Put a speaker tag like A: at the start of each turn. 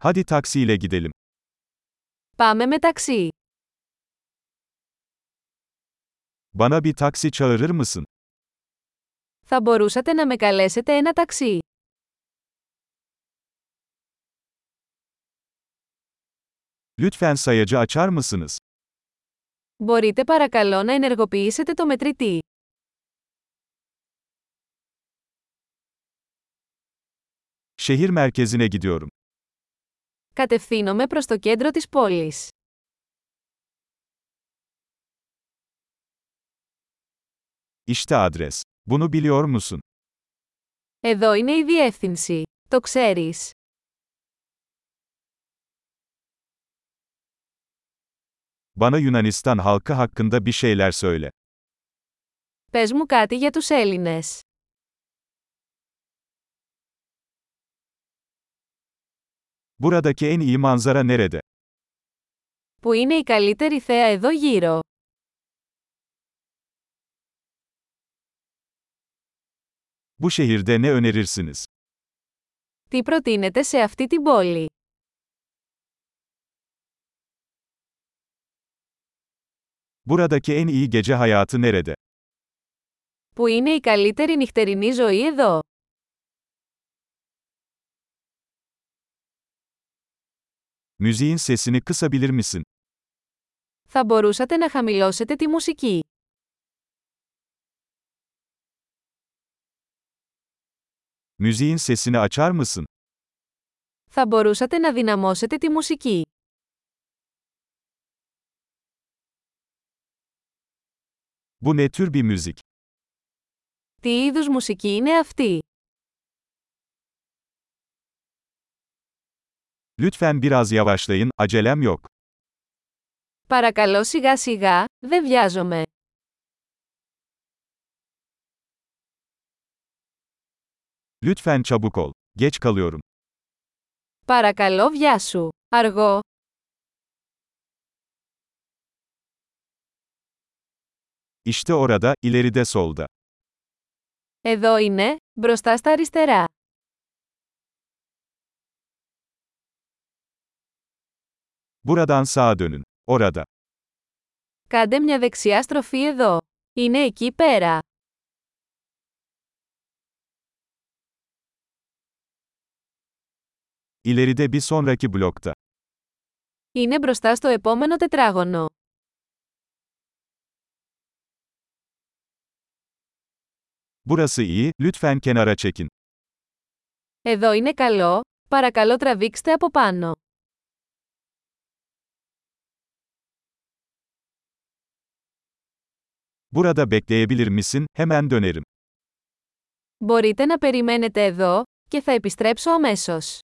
A: Hadi taksiyle gidelim.
B: Πάμε με ταξί.
A: Bana bir taksi çağırır mısın?
B: Θα μπορούσατε να με καλέσετε ένα ταξί.
A: Lütfen sayacı açar mısınız?
B: Μπορείτε παρακαλώ να ενεργοποιήσετε το μετρητή.
A: Şehir merkezine gidiyorum.
B: Κατευθύνομαι προς το κέντρο της πόλης.
A: İşte adres. Bunu biliyor musun?
B: Εδώ είναι η διεύθυνση. Το ξέρεις.
A: Bana Yunanistan halkı hakkında bir şeyler söyle.
B: Πες μου κάτι για τους Έλληνες.
A: Buradaki en iyi manzara nerede?
B: Πού είναι η καλύτερη θέα εδώ γύρω.
A: Bu şehirde ne önerirsiniz?
B: Τι προτείνετε σε αυτή την πόλη.
A: Buradaki en iyi gece hayatı nerede?
B: Πού είναι η καλύτερη νυχτερινή ζωή εδώ.
A: Müziğin sesini kısabilir misin?
B: Θα μπορούσατε να χαμηλώσετε τη μουσική.
A: Müziğin sesini açar mısın?
B: Θα μπορούσατε να δυναμώσετε τη μουσική.
A: Bu ne tür bir müzik?
B: Τι είδους μουσική είναι αυτή.
A: Lütfen biraz yavaşlayın, acelem yok.
B: Παρακαλώ σιγά σιγά, δεν βιάζομαι.
A: Lütfen çabuk ol. Geç kalıyorum.
B: Παρακαλώ βιάσου. Αργό.
A: İşte orada, ileride solda.
B: Εδώ είναι, μπροστά στα αριστερά.
A: Buradan sağa dönün. Orada.
B: Κάντε μια δεξιά στροφή εδώ. Είναι εκεί πέρα.
A: İleride bir sonraki blokta.
B: Είναι μπροστά στο επόμενο τετράγωνο.
A: Burası iyi, lütfen kenara çekin.
B: Εδώ είναι καλό, παρακαλώ τραβήξτε από πάνω.
A: Burada bekleyebilir misin? Hemen dönerim.
B: Μπορείτε να περιμένετε εδώ, και θα επιστρέψω αμέσως.